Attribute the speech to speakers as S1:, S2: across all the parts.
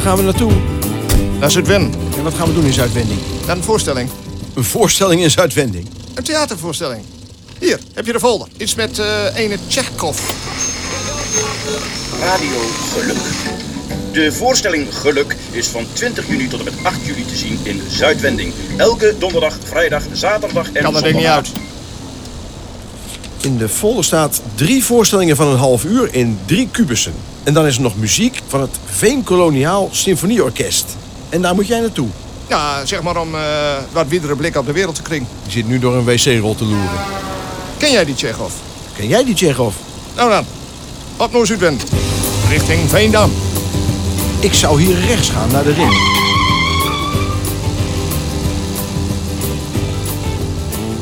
S1: gaan we naartoe?
S2: Naar Zuidwen.
S1: En wat gaan we doen in Zuidwending?
S2: Naar een voorstelling.
S1: Een voorstelling in Zuidwending.
S2: Een theatervoorstelling. Hier, heb je de folder. Iets met eh ene Tjechkov.
S3: Radio Geluk. De voorstelling Geluk is van 20 juni tot en met 8 juli te zien in Zuidwending. Elke donderdag, vrijdag, zaterdag en
S2: Kan dat ding niet
S3: zondag.
S2: uit.
S1: In de folder staat drie voorstellingen van een half uur in drie kubussen. En dan is er nog muziek van het Veenkoloniaal Symfonieorkest. En daar moet jij naartoe.
S2: Ja, zeg maar om eh, wat widere blik op de wereld te kringen.
S1: Je zit nu door een wc-rol te loeren.
S2: Ken jij die Tjechkov?
S1: Ken jij die Tsjechov?
S2: Nou dan, op naar Zuidwen. Richting Veendam.
S1: Ik zou hier rechts gaan naar de ring.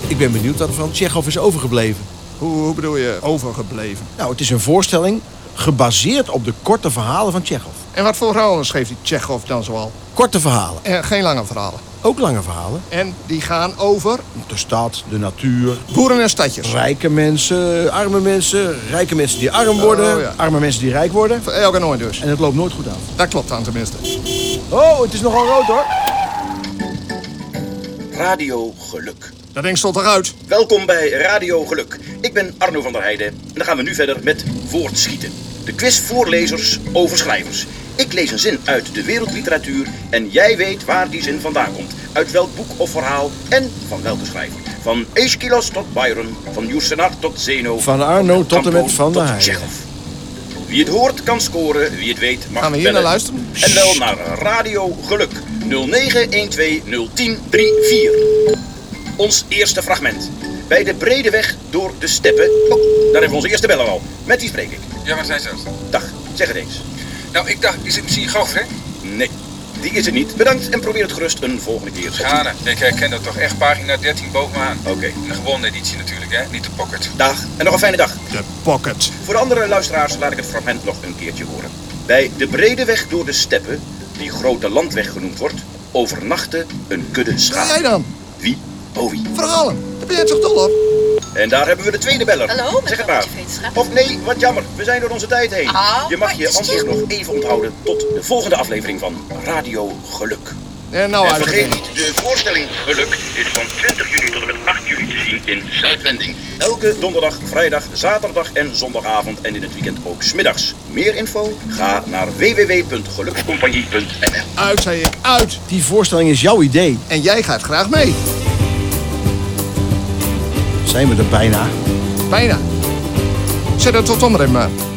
S1: Ik ben benieuwd wat er van Tsjechov is overgebleven.
S2: Hoe, hoe bedoel je overgebleven?
S1: Nou, het is een voorstelling gebaseerd op de korte verhalen van Tsjechov.
S2: En wat voor verhalen schreef die Tjechkov dan zoal?
S1: Korte verhalen,
S2: Eh, geen lange verhalen.
S1: ook lange verhalen.
S2: En die gaan over
S1: De stad, de natuur,
S2: boeren en stadjes.
S1: rijke mensen, arme mensen, rijke mensen die arm worden,
S2: Oh, ja.
S1: arme mensen die rijk worden.
S2: Voor elke nooit dus.
S1: En het loopt nooit goed af.
S2: Dat klopt dan tenminste.
S1: Oh, het is nogal rood hoor.
S3: Radio Geluk.
S2: Dat ding stond eruit.
S3: Welkom bij Radio Geluk. Ik ben Arno van der Heijden en dan gaan we nu verder met woordschieten. De quiz voor lezers over schrijvers. Ik lees een zin uit de wereldliteratuur en jij weet waar die zin vandaan komt. Uit welk boek of verhaal en van welke schrijver. Van Aeschylus tot Byron, van Jusenard tot Zeno.
S1: Van Arno
S3: Del
S1: tot en met
S3: Campo
S1: Van der
S3: tot
S1: Heijden.
S3: Tsjechov. Wie het hoort kan scoren, wie het weet mag
S2: Gaan we hier
S3: bellen.
S2: naar luisteren?
S3: En wel naar Radio Geluk 0912 Ons eerste fragment. Bij de brede weg door de steppen. Oh, daar hebben we onze eerste beller al. Met die spreek ik.
S4: Ja, waar zijn ze?
S3: Dag, zeg het eens.
S4: Nou, ik dacht, is het misschien Goff, hè?
S3: Nee, die is het niet. Bedankt en probeer het gerust een volgende keer.
S4: Schade. Ik herken dat toch echt pagina 13 bovenaan.
S3: Oké,
S4: Een gewone editie natuurlijk, hè? Niet de pocket.
S3: dag en nog een fijne dag.
S2: De pocket.
S3: Voor de andere luisteraars laat ik het fragment nog een keertje horen. Bij de brede weg door de steppen, die grote landweg genoemd wordt, overnachtte een kudde
S2: Ga jij
S3: schapen.
S2: dan?
S3: Wie? Oh wie?
S2: Verhalen. Daar ben jij toch dol op?
S3: En daar hebben we de tweede beller.
S5: Hallo, met
S3: zeg het
S5: welke
S3: maar.
S5: vriendschap?
S3: Of nee, wat jammer, we zijn door onze tijd heen.
S5: Ah,
S3: je mag
S5: maar
S3: je
S5: het is
S3: antwoord
S5: chill.
S3: nog even onthouden tot de volgende aflevering van Radio Geluk.
S2: En nou
S3: en vergeet
S2: eigenlijk.
S3: niet, de voorstelling Geluk is van 20 juni tot en met 8 juli te zien in Zuidwending. Elke donderdag, vrijdag, zaterdag en zondagavond en in het weekend ook smiddags. Meer info? Ga naar www.gelukcompagnie.nl
S2: Uit, zei ik. Uit.
S1: Die voorstelling is jouw idee.
S2: En jij gaat graag mee.
S1: Zijn we er bijna?
S2: Bijna. Zet het tot eh. om, maar.